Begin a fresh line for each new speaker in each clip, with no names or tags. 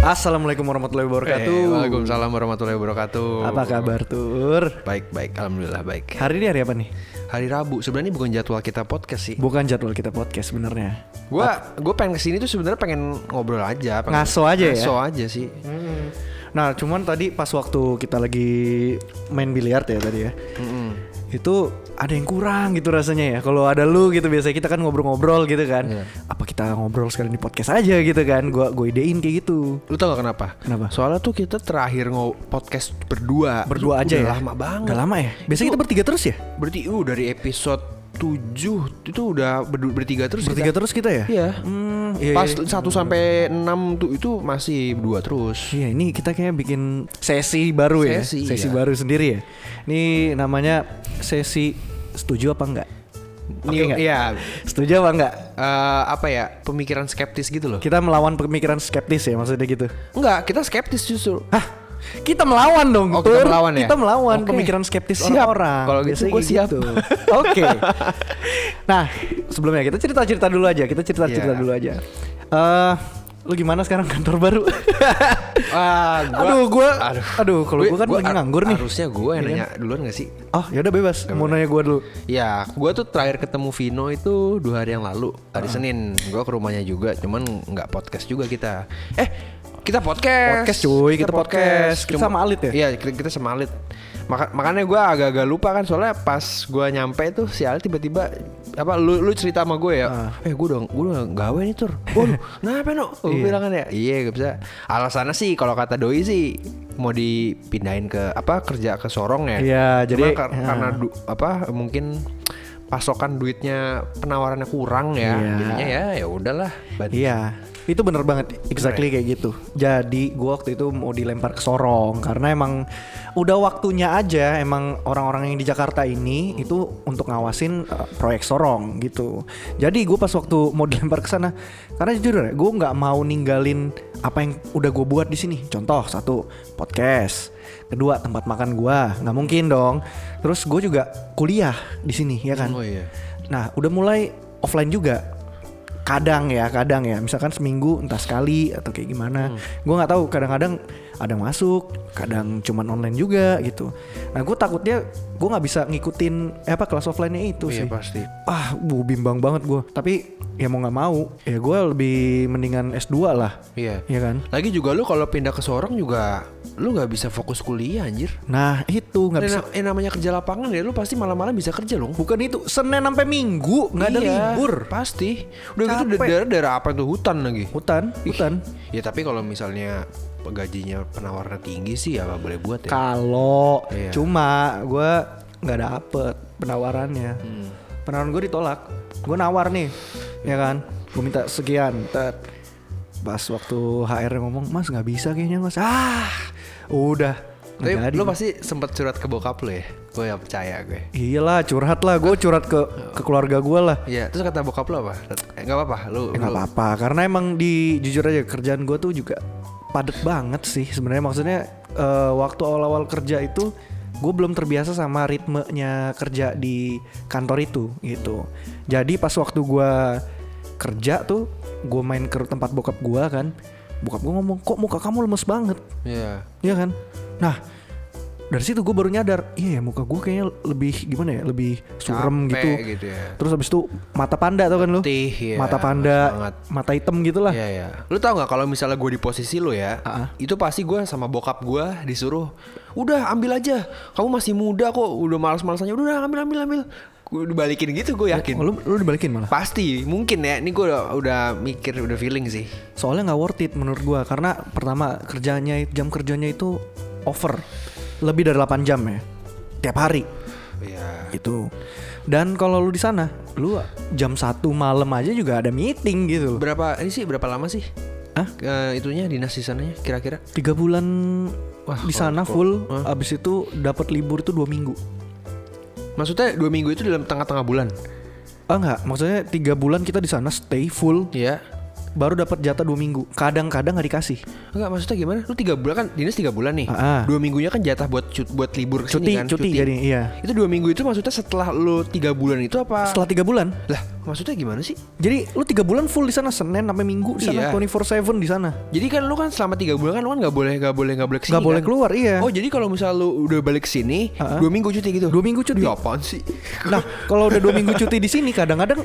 Assalamualaikum warahmatullahi wabarakatuh.
Eh, Waalaikumsalam warahmatullahi wabarakatuh.
Apa kabar Tur?
Baik baik, alhamdulillah baik.
Hari ini hari apa nih?
Hari Rabu sebenarnya ini bukan jadwal kita podcast sih.
Bukan jadwal kita podcast sebenarnya.
Gua gue pengen kesini tuh sebenarnya pengen ngobrol aja. Pengen
Ngaso aja ya?
Ngaso aja sih.
Nah, cuman tadi pas waktu kita lagi main biliar ya tadi ya. Itu ada yang kurang gitu rasanya ya. Kalau ada lu gitu biasanya kita kan ngobrol-ngobrol gitu kan.
Iya.
Apa kita ngobrol sekalian di podcast aja gitu kan. Gua gue idein kayak gitu.
Lu tau gak kenapa?
Kenapa?
Soalnya tuh kita terakhir ngo podcast berdua.
Berdua aja
Udah
ya.
lama banget.
Udah lama ya. Biasanya kita bertiga terus ya?
Berarti uh dari episode 7 itu udah berdu- bertiga terus
Bertiga
kita.
terus kita ya?
Iya.
Hmm, iya,
Pas
iya.
1 sampai 6 tuh itu masih berdua terus.
Iya ini kita kayak bikin sesi baru ya
Sesi,
Sesi
iya.
baru sendiri ya Ini namanya sesi setuju apa enggak? Oke
Ini
nggak?
iya.
Setuju apa enggak?
eh, apa ya? Pemikiran skeptis gitu loh.
Kita melawan pemikiran skeptis ya maksudnya gitu
Enggak, kita skeptis justru.
Hah? Kita melawan dong
Oh, kita
Tur.
melawan ya?
Kita melawan
Oke.
pemikiran skeptis
Siap.
orang-orang
Kalau gitu
Biasanya
gua
kayak
siap.
Oke Nah sebelumnya kita cerita-cerita dulu aja Kita cerita-cerita
Iya.
dulu aja Eh, Lu gimana sekarang kantor baru?
Wah,
aduh gue Aduh, kalau gue kan
Ah, gua
lagi
har-
nganggur nih Iya kan?
Harusnya gue yang nanya duluan gak sih?
Oh yaudah bebas Mau nanya gue dulu
Ya, gue tuh terakhir ketemu Vino itu dua hari yang lalu hari
Ah.
Senin. Gue ke rumahnya juga, cuman nggak podcast juga kita. Eh, kita podcast.
Podcast, cuy, kita podcast. Kita sama Alit ya?
Iya, kita, kita sama Alit. Maka, makanya gue agak-agak lupa kan soalnya pas gue nyampe tuh si Alit tiba-tiba apa lu lu cerita sama gue ya.
Ah.
Eh, gue udah gue udah gawe nih tur. Waduh, kenapa no? Gue bilang kan ya. Iya, gak bisa. Alasannya sih kalau kata doi sih mau dipindahin ke apa kerja ke Sorong ya.
Iya, jadi-
Cuma kar-
ya.
karena du- apa mungkin pasokan duitnya penawarannya kurang
Iya.
ya jadinya ya ya udahlah Ban-
Iya, itu bener banget, exactly kayak gitu. Jadi gue waktu itu mau dilempar ke Sorong karena emang udah waktunya aja emang orang-orang yang di Jakarta ini itu untuk ngawasin uh, proyek Sorong gitu. Jadi gue pas waktu mau dilempar ke sana, karena jujur ya, gue nggak mau ninggalin apa yang udah gue buat di sini. Contoh satu podcast, kedua tempat makan gue, nggak mungkin dong. Terus gue juga kuliah di sini ya kan.
Oh iya.
Nah, udah mulai offline juga. Kadang ya, kadang ya. Misalkan seminggu entah sekali atau kayak gimana. Gue nggak tahu. Kadang-kadang ada yang masuk, kadang cuman online juga gitu. Nah, gue takutnya gue nggak bisa ngikutin eh, apa kelas offline-nya itu
iya
sih.
pasti
Ah, bu bimbang banget gue. Tapi ya mau nggak mau, ya gue lebih mendingan S2 lah.
iya
Iya kan?
lagi juga lu kalau pindah ke Sorong juga lu nggak bisa fokus kuliah anjir
Nah, itu nggak bisa.
Yang namanya kerja lapangan ya lu pasti malam-malam bisa kerja dong
Bukan itu Senin sampai Minggu nggak ada
Iya,
libur.
pasti udah gitu
Capek.
daerah-daerah apa tuh hutan lagi
Hutan, hutan.
ya tapi kalau misalnya gajinya penawarannya tinggi sih ya boleh buat ya
Kalau
Iya.
cuma gue nggak dapet penawarannya.
Hmm.
Penawaran gue ditolak. Gue nawar nih, ya kan? Gue minta sekian. Tet. Pas waktu HR ngomong, Mas nggak bisa kayaknya Mas. Ah, udah.
tapi
Nggak jadi.
lu pasti sempet curhat ke bokap lu ya gue ya percaya gue
Iyalah curhat lah, gue curhat ke ke keluarga gue lah.
Iya, terus kata bokap lu apa? Eh, gak apa-apa, lu
Eh, nggak
lu-
apa-apa karena emang di jujur aja kerjaan gue tuh juga padat banget sih sebenarnya maksudnya eh, waktu awal-awal kerja itu gue belum terbiasa sama ritmenya kerja di kantor itu gitu jadi pas waktu gue kerja tuh gue main ke tempat bokap gue kan bokap gue ngomong kok muka kamu lemes banget
Iya.
Iya kan? Nah, dari situ gue baru nyadar, iya ya, muka gue kayaknya lebih gimana ya, lebih surem
Capek
gitu.
gitu ya.
Terus habis itu mata panda tau kan lu?
Letih, iya,
Mata panda,
banget.
mata hitam gitulah.
Iya, iya. Lu tau gak kalau misalnya gue di posisi lu ya,
Ah, ah.
itu pasti gue sama bokap gue disuruh, udah ambil aja, kamu masih muda kok, udah males-malesannya, udah udah, ambil ambil ambil. Gue dibalikin gitu
Oh,
gue yakin.
lu, lu dibalikin malah.
Pasti, mungkin ya. Ini gue udah, udah mikir, udah feeling sih.
Soalnya nggak worth it menurut gue karena pertama kerjanya jam kerjanya itu over lebih dari 8 jam ya tiap hari
Iya.
gitu. Dan kalau lu di sana, lu ah? jam 1 malam aja juga ada meeting gitu.
Berapa ini sih berapa lama sih?
Hah?
Eh, itunya dinas di sananya kira-kira?
tiga bulan
Wah,
di sana full abis itu dapat libur tuh dua minggu
Maksudnya dua minggu itu dalam tengah-tengah bulan?
ah nggak maksudnya tiga bulan kita di sana stay full
Iya.
baru dapat jatah dua minggu kadang-kadang nggak dikasih
Enggak maksudnya gimana? Lu tiga bulan kan dinas tiga bulan nih.
Ah, ah.
Dua minggunya kan jatah buat cut, buat libur
cuti
kesini kan.
cuti, jadi iya
Itu dua minggu itu maksudnya setelah lu tiga bulan itu apa?
setelah tiga bulan
Lah maksudnya gimana sih?
jadi lu tiga bulan full di sana senin sampai minggu di sana
Iya.
24/7 di sana
Jadi kan lu kan selama tiga bulan kan lu kan nggak boleh nggak boleh nggak boleh kesini
nggak boleh
kan?
keluar iya
Oh jadi kalau misal lu udah balik sini
Ah, ah.
dua minggu cuti gitu?
Dua minggu cuti.
Ya apaan sih?
Nah, kalau udah dua minggu cuti di sini kadang-kadang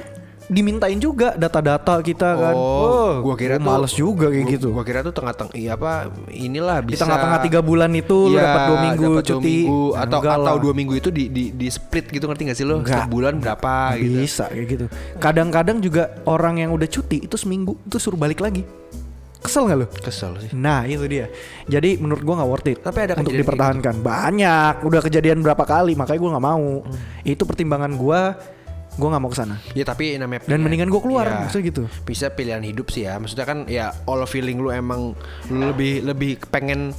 dimintain juga data-data kita kan.
Oh, gua kira tuh-
males juga kayak
gua-
gitu.
Gua kira tuh tengah-tengah iya apa inilah
di
bisa
tengah-tengah tiga bulan itu lu
Iya,
dapat dua minggu
dapat dua
cuti
minggu,
Ya,
atau
enggak
atau
lah.
dua minggu itu di di, di split gitu ngerti gak sih lo?
Enggak.
Setiap bulan berapa gitu?
bisa kayak gitu. Kadang-kadang juga orang yang udah cuti itu seminggu itu suruh balik lagi. Kesel nggak lu?
Kesel sih.
Nah itu dia. Jadi menurut gua nggak worth it.
Tapi ada
untuk
kejadian kayak gitu?
dipertahankan banyak. Udah kejadian berapa kali makanya gua nggak mau.
Hmm.
Itu pertimbangan gua. Gua nggak mau kesana.
Ya tapi namanya
Dan mendingan gua keluar
Iya.
maksudnya gitu.
bisa pilihan hidup sih ya. Maksudnya kan ya all of feeling lu emang lu lebih lebih pengen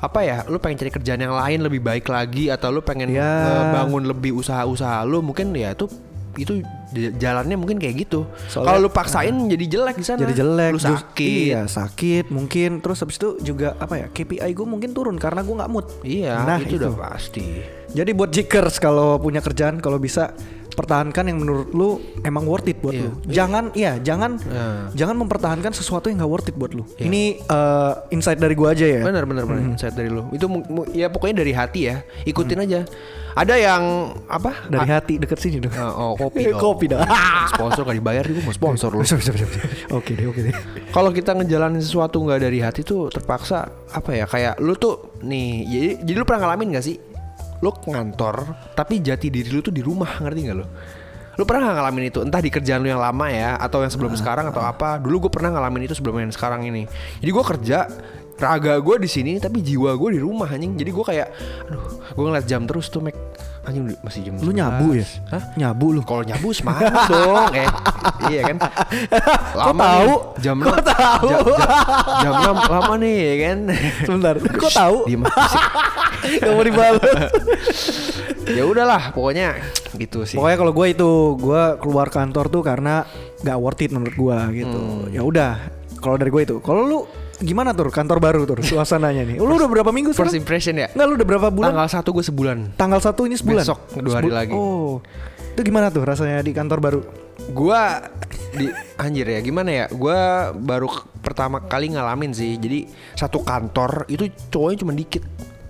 apa ya? Lu pengen cari kerjaan yang lain lebih baik lagi atau lu pengen
Ya.
eh, bangun lebih usaha-usaha lu mungkin ya itu itu j- jalannya mungkin kayak gitu.
Soalnya- Ah.
Kalau lu paksain jadi jelek di sana.
jadi jelek
lu
jus-
sakit.
iya sakit mungkin terus habis itu juga apa ya KPI gue mungkin turun karena gue nggak mood
Iya,
nah
itu, udah pasti.
jadi buat jikers kalau punya kerjaan kalau bisa pertahankan yang menurut lu emang worth it buat
Iya.
lu jangan iya jangan
Nah.
jangan mempertahankan sesuatu yang nggak worth it buat lu
Iya.
ini eh, insight dari gue aja ya
Benar benar benar. Insight dari lu. Itu mu- mu- ya pokoknya dari hati ya. Ikutin
Hmm.
aja. Ada yang apa?
dari hati deket sini dong
Ah, oh, kopi.
Eh,
dong.
kopi dong.
sponsor gak dibayar gue mau sponsor lu.
Bisa, bisa, bisa, bisa. oke deh oke deh
Kalau kita ngejalanin sesuatu nggak dari hati tuh terpaksa apa ya? Kayak lu tuh nih, jadi, jadi lu pernah ngalamin gak sih? Lu ngantor, tapi jati diri lu tuh di rumah, ngerti gak lu? Lu pernah gak ngalamin itu? Entah di kerjaan lu yang lama ya, atau yang sebelum sekarang atau apa? Dulu gue pernah ngalamin itu sebelum yang sekarang ini. Jadi gue kerja, raga gue di sini, tapi jiwa gue di rumah anjing. Jadi gue kayak, aduh, gue ngeliat jam terus tuh, Mac. Anjing udah- masih jam.
lu nyabu ya
11. Hah?
nyabu lu
Kalau nyabu semangat dong, eh, iya kan?
Kok tahu?
nih, jam
Kok
6
tahu?
jam, jam- jam 6 lama nih, ya kan?
sebentar kok tahu
Diem aja sih.
Gak mau dibales
ya udahlah, pokoknya gitu sih.
Pokoknya kalau gue itu gue keluar kantor tuh karena gak worth it menurut gue gitu. Ya udah, kalau dari gue itu. Kalau lu gimana tuh kantor baru tuh suasananya nih? Lu udah berapa minggu
First
sekarang?
impression ya.
Enggak, lu udah berapa bulan?
Tanggal 1 gue sebulan.
Tanggal satu ini sebulan.
Besok, dua hari
Sebul-
lagi.
Oh, itu gimana tuh rasanya di kantor baru?
Gua di anjir ya, gimana ya? Gua baru k- pertama kali ngalamin sih. Jadi satu kantor itu cowoknya cuma dikit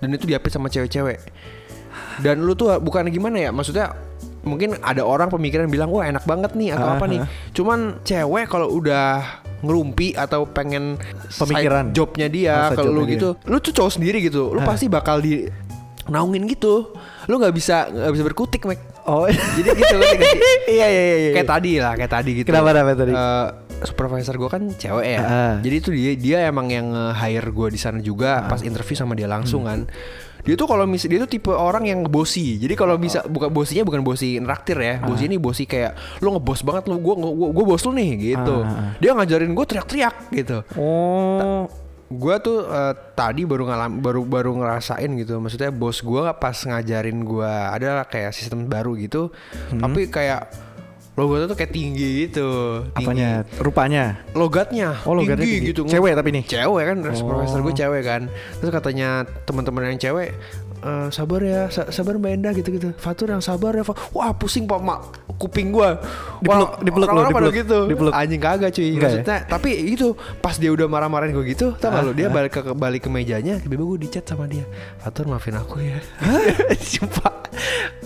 dan itu diapit sama cewek-cewek. Dan lu tuh bukan gimana ya? Maksudnya mungkin ada orang pemikiran bilang wah enak banget nih atau apa nih. Cuman cewek kalau udah ngerumpi atau pengen side
Pemikiran.
jobnya dia
Masa
kalau
jobnya
lu
dia.
gitu lu tuh cowok sendiri gitu lu pasti bakal di naungin gitu lu nggak bisa nggak bisa berkutik Mac
Oh,
jadi gitu ngerti nggak sih?
iya iya iya. iya.
kayak tadi lah kayak tadi gitu
Kenapa, kenapa tadi?
Eh, supervisor gue kan cewek ya
Ah.
jadi itu dia dia emang yang hire gue di sana juga pas interview sama dia
Hmm.
langsung kan dia tuh kalau mis dia tuh tipe orang yang bosi jadi kalau bisa
Oh.
bukan bosinya bukan bosi nraktir ya bosi ini bosi kayak lu ngebos banget lu gue gue gue bos lu nih gitu
Ah,
dia ngajarin gue teriak-teriak gitu
Oh,
Gua tuh eh, tadi baru ngalam baru baru ngerasain gitu maksudnya bos gua nggak pas ngajarin gua ada kayak sistem baru gitu
Hmm.
tapi kayak logatnya tuh kayak tinggi gitu tinggi.
apanya? Rupanya.
logatnya
Oh, logatnya tinggi.
gitu
Cewek tapi nih?
cewek kan
Oh.
profesor gue cewek kan terus katanya teman-teman yang cewek "Eh, sabar ya sa- sabar mbak Endah gitu gitu Fatur yang sabar ya Fa-" wah pusing pak mak kuping gue
Dipeluk- dipeluk lu,
orang pada
dipeluk,
gitu
dipeluk.
anjing kagak cuy
Enggak ya?
maksudnya tapi itu pas dia udah marah-marahin gue gitu tau gak lu
Ah,
dia balik ke balik ke mejanya tiba-tiba gue dicat sama dia Fatur maafin aku ya sumpah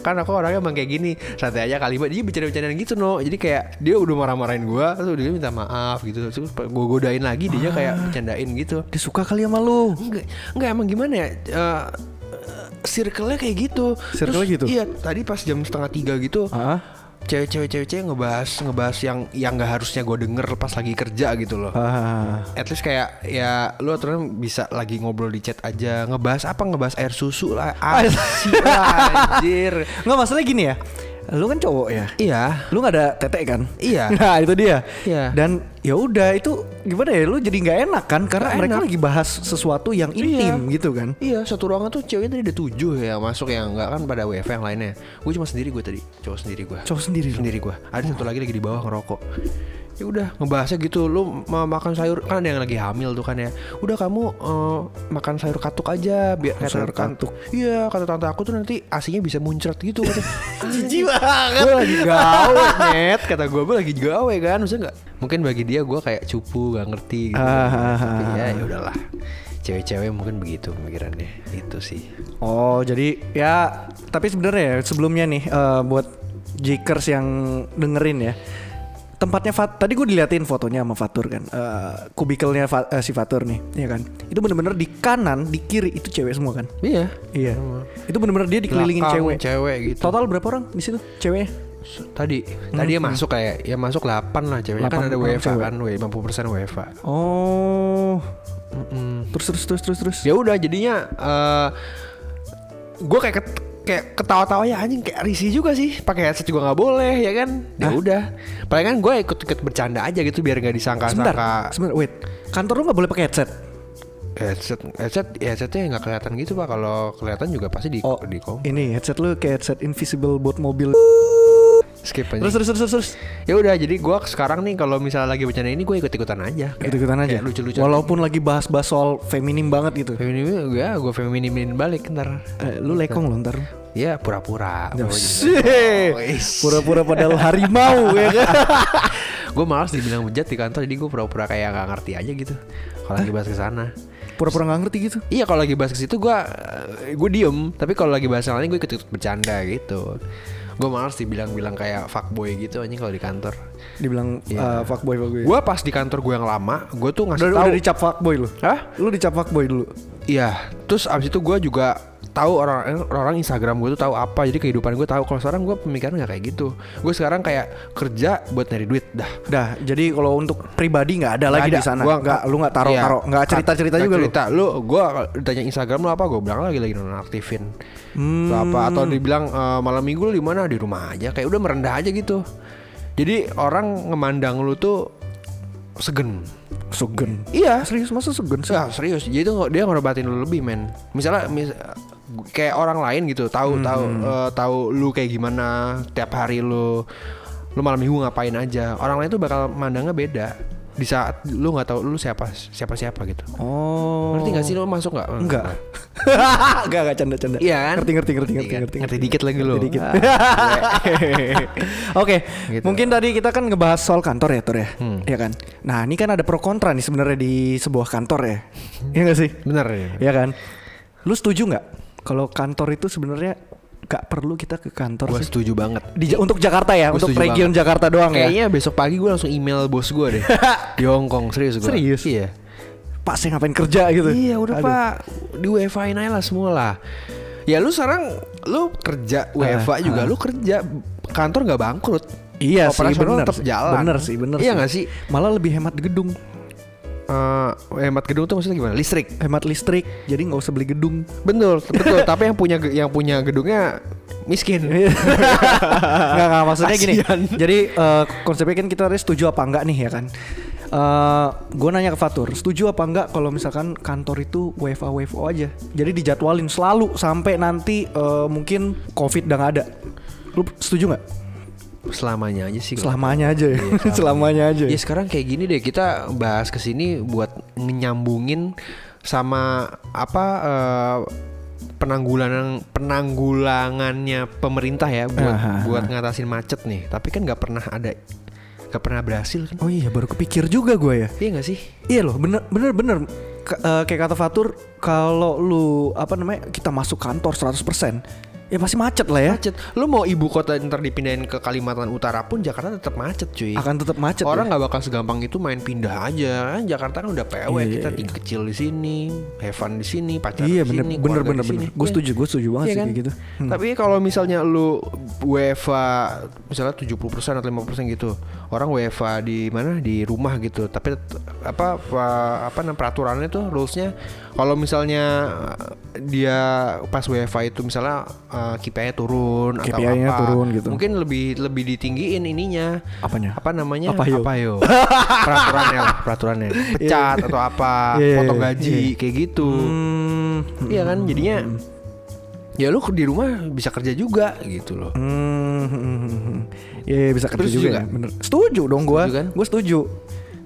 kan aku orangnya emang kayak gini santai aja kali Mbak. dia bercanda-bercandaan gitu no jadi kayak dia udah marah-marahin gue terus dia minta maaf gitu terus gue godain lagi
Ah.
dia kayak bercandain gitu
Dia suka kali sama lu.
Enggak, enggak emang gimana ya? Eh, circle-nya kayak gitu.
Circle-nya
Terus,
gitu?
Iya, tadi pas jam setengah tiga gitu.
Ah.
Cewek-cewek cewek ngebahas ngebahas yang yang nggak harusnya gue denger pas lagi kerja gitu loh.
Ah.
At least kayak ya lu aturan bisa lagi ngobrol di chat aja ngebahas apa ngebahas air susu lah asi lah, anjir.
Enggak masalah gini ya. Lu kan cowok ya.
Iya.
lu nggak ada tete kan?
Iya.
Nah itu dia.
Iya.
Dan ya udah itu gimana ya lu jadi nggak enak kan karena
Nggak
mereka
enak.
lagi bahas sesuatu yang intim gitu kan.
Iya satu ruangan tuh ceweknya tadi ada tujuh ya masuk ya nggak kan pada WF yang lainnya. Gue cuma sendiri gue tadi cowok sendiri gue.
Cowok sendiri lu?
sendiri gue. Ada satu lagi lagi di bawah ngerokok. ya udah ngebahasnya gitu lu mau makan sayur kan ada yang lagi hamil tuh kan ya udah kamu eh, makan sayur katuk aja biar kata
Sayur
tan-
katuk.
iya kata tante aku tuh nanti asinya bisa muncrat gitu kata
Jijik banget.
gue lagi gawe net kata gue gue lagi gawe kan maksudnya nggak mungkin bagi dia gue kayak cupu gak ngerti gitu
Ah, ah,
tapi ya ya udahlah cewek-cewek mungkin begitu pemikirannya itu sih
Oh, jadi ya tapi sebenarnya ya, sebelumnya nih eh, buat jikers yang dengerin ya. Tempatnya Fat, tadi gue diliatin fotonya sama Fatur kan. eh, kubikelnya Fa- eh, si Fatur nih, ya kan. Itu bener-bener di kanan, di kiri itu cewek semua kan.
iya
Iya. Itu bener-bener dia dikelilingin
Belakang
cewek.
cewek gitu
Total berapa orang di situ ceweknya?
tadi tadi ya masuk kayak ya masuk 8 lah ceweknya
Hmm. Delapan
kan ada
orang
WFA
cewek.
kan W- 50% WFA
Oh.
Mm-mm.
Terus terus terus terus terus.
ya udah jadinya eh gue kayak ket- kayak ketawa-tawa ya anjing kayak risih juga sih pakai headset juga nggak boleh ya kan ya udah paling kan gue ikut-ikut bercanda aja gitu biar nggak
Sebentar,
disangka-sangka
sebentar, wait. Kantor lu nggak boleh pakai headset.
headset headset ya headsetnya nggak kelihatan gitu pak kalau kelihatan juga pasti di
Oh,
di kom
ini headset lu kayak headset invisible buat mobil.
skip aja
Terus terus terus terus. terus.
ya udah jadi gue sekarang nih kalau misalnya lagi bercanda ini gue ikut-ikutan aja Kayak-
Ikut-ikutan Iya, aja.
kayak lucu-lucu
Walaupun lagi bahas-bahas soal feminim banget gitu.
feminim gue gue feminimin ya, balik ntar
Eh, lu lekong loh ntar.
ya pura-pura gitu. Oh,
Oh, Pura-pura padahal harimau ya kan.
gue malas dibilang bejat di kantor jadi gue pura-pura kayak nggak ngerti aja gitu kalau lagi bahas ke sana
Pura-pura nggak ngerti gitu.
iya kalau lagi bahas ke situ gue gue diem tapi kalau lagi bahas yang lain gue ikut-ikut bercanda gitu gue malas dibilang-bilang kayak fuckboy gitu anjing kalau di kantor
Dibilang
Iya.
eh, fuckboy fuckboy.
gue pas di kantor gue yang lama gue tuh
Udah,
ngasih
udah
tahu
dicap fuckboy lu.
Hah?
Lu dicap fuckboy dulu.
Iya, terus abis itu gue juga tahu orang eh, orang Instagram gue tuh tahu apa jadi kehidupan gue tahu kalau sekarang gue pemikiran nggak kayak gitu gue sekarang kayak kerja buat nyari duit dah
Dah, jadi kalau untuk pribadi nggak ada lagi di sana.
Gua
Nggak, lu nggak taruh-taruh,
Iya.
nggak cerita-cerita
Nggak
juga lu.
cerita. lu gue ditanya Instagram lu apa gue bilang lagi lagi nonaktifin
Hmm.
Atau apa atau dibilang e, malam minggu lu di mana di rumah aja kayak udah merendah aja gitu jadi orang ngemandang lu tuh segen
Sugen.
iya
Serius masa sugen sih?
Ah, serius. Jadi itu dia ngorbatin lu lebih, men. Misalnya mis- kayak orang lain
Hmm,
gitu, tahu tahu eh, tahu lu kayak gimana tiap hari lu lu malam minggu ngapain aja. Orang lain tuh bakal mandangnya beda di saat lu nggak tahu lu siapa siapa siapa gitu.
Oh.
Ngerti gak sih lu masuk nggak?
Enggak. Enggak, enggak canda-canda.
Iya kan?
Ngerti, ngerti, ngerti,
Ngerti
ngerti,
kan?
ngerti.
Ngerti dikit lagi lu.
Ngerti dikit.
Ah.
Oke,
Gitu. Hmm.
mungkin tadi kita kan ngebahas soal kantor ya, Tur ya. Iya kan? Nah, ini kan ada pro kontra nih sebenarnya di sebuah kantor ya. Iya gak sih?
Bener ya.
Iya kan? Lu setuju nggak kalau kantor itu sebenarnya nggak perlu kita ke kantor
Gue
sih?
setuju banget.
Di, untuk Jakarta ya,
Gua
untuk
setuju
region Jakarta doang ya.
Kayaknya besok pagi gue langsung email bos gue deh di Hong Kong serius gue.
Serius?
Iya.
Pak, saya ngapain kerja gitu.
Iya udah
Aduh.
pak Di WFA in aja lah semua lah Ya lu sekarang Lu kerja WFA juga Lu kerja Kantor nggak bangkrut
Ah, Iya sih,
Operasional
bener.
tetap
sih.
jalan
Bener sih, bener
Iya nggak sih
Malah lebih hemat gedung,
Eh, Hemat gedung tuh maksudnya gimana Listrik
hemat listrik, jadi nggak usah beli gedung.
Betul Betul Tapi yang punya ge- yang punya gedungnya Miskin
Iya. nggak nggak maksudnya gini.
Kasian.
Jadi eh, konsepnya kan kita tadi setuju apa enggak nih ya kan? Eh gue nanya ke Fatur, setuju apa enggak kalau misalkan kantor itu WFA WFO aja? Jadi dijadwalin selalu sampai nanti eh, mungkin COVID udah nggak ada. Lu setuju nggak?
Selamanya aja sih
Selamanya aja
Iya,
ya. Selamanya aja.
Ya sekarang kayak gini deh kita bahas ke sini buat nyambungin sama apa eh, penanggulangan penanggulangannya pemerintah ya buat
Aha.
buat ngatasin macet nih. Tapi kan nggak pernah ada nggak pernah berhasil kan?
Oh iya, baru kepikir juga gue ya.
Iya nggak sih?
Iya loh, bener bener bener. K- eh, kayak kata Fatur, kalau lu apa namanya kita masuk kantor 100% ya pasti macet lah ya.
Macet. Lu mau ibu kota ntar dipindahin ke Kalimantan Utara pun Jakarta tetap macet cuy.
Akan tetap macet. ya.
Orang nggak bakal segampang itu main pindah aja. Kan Jakarta kan udah PW,
Iya,
kita
iya,
tinggal kecil di sini, Heaven di sini, pacar
Iya
di
bener
sini,
bener
keluarga
bener
di
bener.
sini.
Gue
Iya.
setuju gue setuju banget
Iya
sih
kan?
kayak gitu. Hmm.
Tapi kalau misalnya lu WFA misalnya 70% atau 50% gitu. Orang WFA di mana? Di rumah gitu. Tapi tet- apa apa, apa namanya, peraturannya tuh rules-nya kalau misalnya uh, dia pas WFA itu misalnya uh, KPI-nya turun atau
KPI-nya
apa.
turun gitu.
Mungkin lebih lebih ditinggiin ininya.
Apanya?
Apa namanya?
Apa yo?
yo? peraturannya lah, peraturannya. Pecat atau apa,
Iya,
potong
iya,
gaji kayak gitu.
Hmm,
Iya kan jadinya ya lu di rumah bisa kerja juga gitu loh.
hmm, Iya bisa kerja
Terus
juga,
juga?
ya, bener. Setuju dong gua.
Setuju kan?
Gua setuju.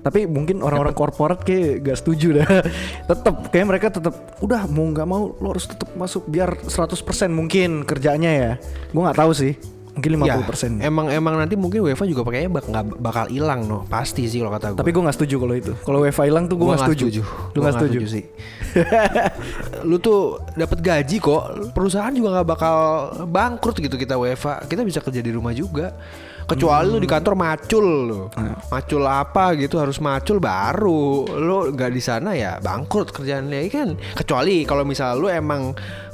Tapi mungkin orang-orang korporat kayak gak setuju dah. tetep kayak mereka tetep udah mau nggak mau lo harus tetep masuk biar 100% mungkin kerjanya ya. Gua nggak tahu sih. Mungkin 50%.
Ya, emang emang nanti mungkin UEFA juga E pakainya bak nggak bakal hilang no pasti sih kalau kata gue.
Tapi gua nggak setuju kalau itu. Kalau WiFi hilang tuh gua nggak setuju. Lu
Gue
nggak
nggak
setuju.
setuju. sih. Lu tuh dapat gaji kok. Perusahaan juga nggak bakal bangkrut gitu kita WFA. Kita bisa kerja di rumah juga. Kecuali lu di kantor macul lu.
Iya.
Macul apa gitu harus macul baru. Lu nggak di sana ya bangkrut kerjaannya ya kan. Kecuali kalau misal lu emang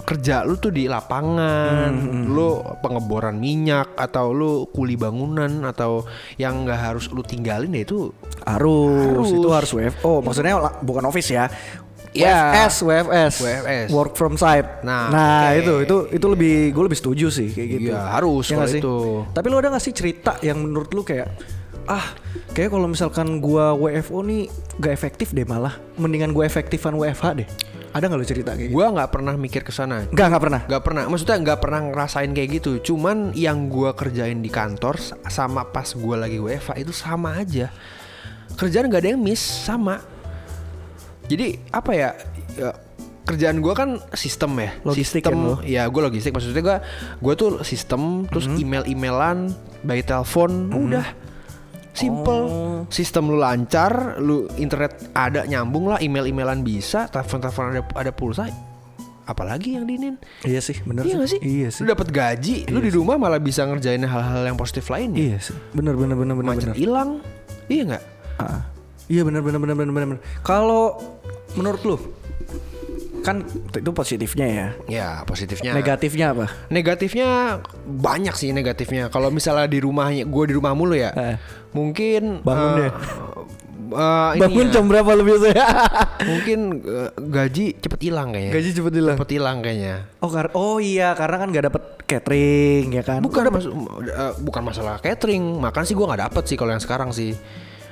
kerja lu tuh di lapangan,
Hmm,
lu pengeboran minyak atau lu kuli bangunan atau yang nggak harus lu tinggalin ya itu
Harus,
Harus.
itu harus WFO. Maksudnya la- bukan office ya.
Ya.
WFS, WFS,
WFS.
work from site.
Nah, oke.
itu, itu, itu lebih, gue lebih setuju sih kayak gitu.
Iya, harus
Ya nggak
kalau
sih?
itu.
Tapi lo ada gak sih cerita yang menurut lu kayak, ah, kayak kalau misalkan gua WFO nih gak efektif deh malah, mendingan gue efektifan WFH deh. Ada gak lo cerita kayak gitu?
gue nggak pernah mikir ke sana
Gak, gak pernah.
nggak pernah maksudnya nggak pernah ngerasain kayak gitu cuman yang gua kerjain di kantor s- sama pas gua lagi WFA itu sama aja kerjaan nggak ada yang miss sama jadi apa ya, ya, kerjaan gua kan sistem ya
Logistik
sistem
kan lo?
ya gue logistik maksudnya gua gua tuh sistem terus
Hmm.
email emailan by telepon udah simple
Oh.
sistem lu lancar lu internet ada nyambung lah email emailan bisa telepon telepon ada ada pulsa apalagi yang dinin
Iya sih, bener
Iya gak sih?
Iya sih.
Lu dapat gaji, lu di rumah malah bisa ngerjain hal-hal yang positif lainnya.
Iya sih. Bener, bener, bener, bener. bener.
Macet hilang. Iya nggak?
Ah. Iya benar benar benar benar benar. benar. Kalau menurut lu kan itu positifnya ya.
Ya, positifnya.
Negatifnya apa?
Negatifnya banyak sih negatifnya. Kalau misalnya di rumahnya, gue di rumah mulu ya,
Eh.
mungkin
Bangun
eh,
deh.
eh, ini
Bangun
ya,
jam berapa lu biasanya?
mungkin eh, gaji cepet hilang kayaknya.
Gaji cepet hilang.
cepet hilang kayaknya.
Oh, kar- oh iya karena kan gak dapet catering ya kan.
Bukan mas- eh, bukan masalah catering, makan sih gua nggak dapet sih kalau yang sekarang sih.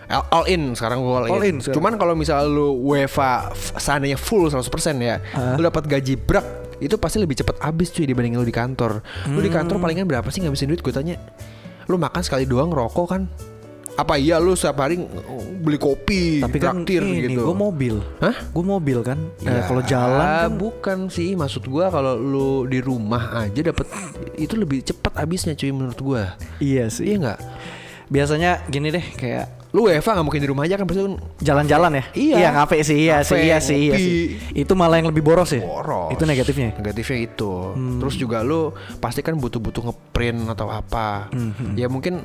All all in sekarang gua
All
all,
in
in.
sekarang.
Cuman kalau misal lu UEFA f- seandainya full 100% ya, lu dapat gaji brak itu pasti lebih cepet habis cuy dibandingin lu di kantor. Lu di
Hmm.
kantor palingan berapa sih ngabisin duit gue tanya. Lu makan sekali doang rokok kan? Apa iya lu setiap hari ng- beli kopi,
Tapi kan
traktir
ini
gitu.
gue mobil.
Hah?
Gue mobil kan. Eh,
Ya,
kalau jalan kan
bukan sih maksud gua kalau lu di rumah aja dapat itu lebih cepat habisnya cuy menurut gua.
iya
Iya
sih.
nggak?
Biasanya gini deh kayak
Lu WFA nggak mungkin di rumah aja kan pasti lu
jalan-jalan ya.
Iya.
Iya, ngapain sih? Iya sih,
Ngapain,
iya sih, iya
ngopi.
sih. Itu malah yang lebih boros ya. Hmm.
boros.
Itu negatifnya. ya?
Negatifnya itu. Terus juga lu pasti kan butuh-butuh ngeprint atau apa.
Hmm,
Ya mungkin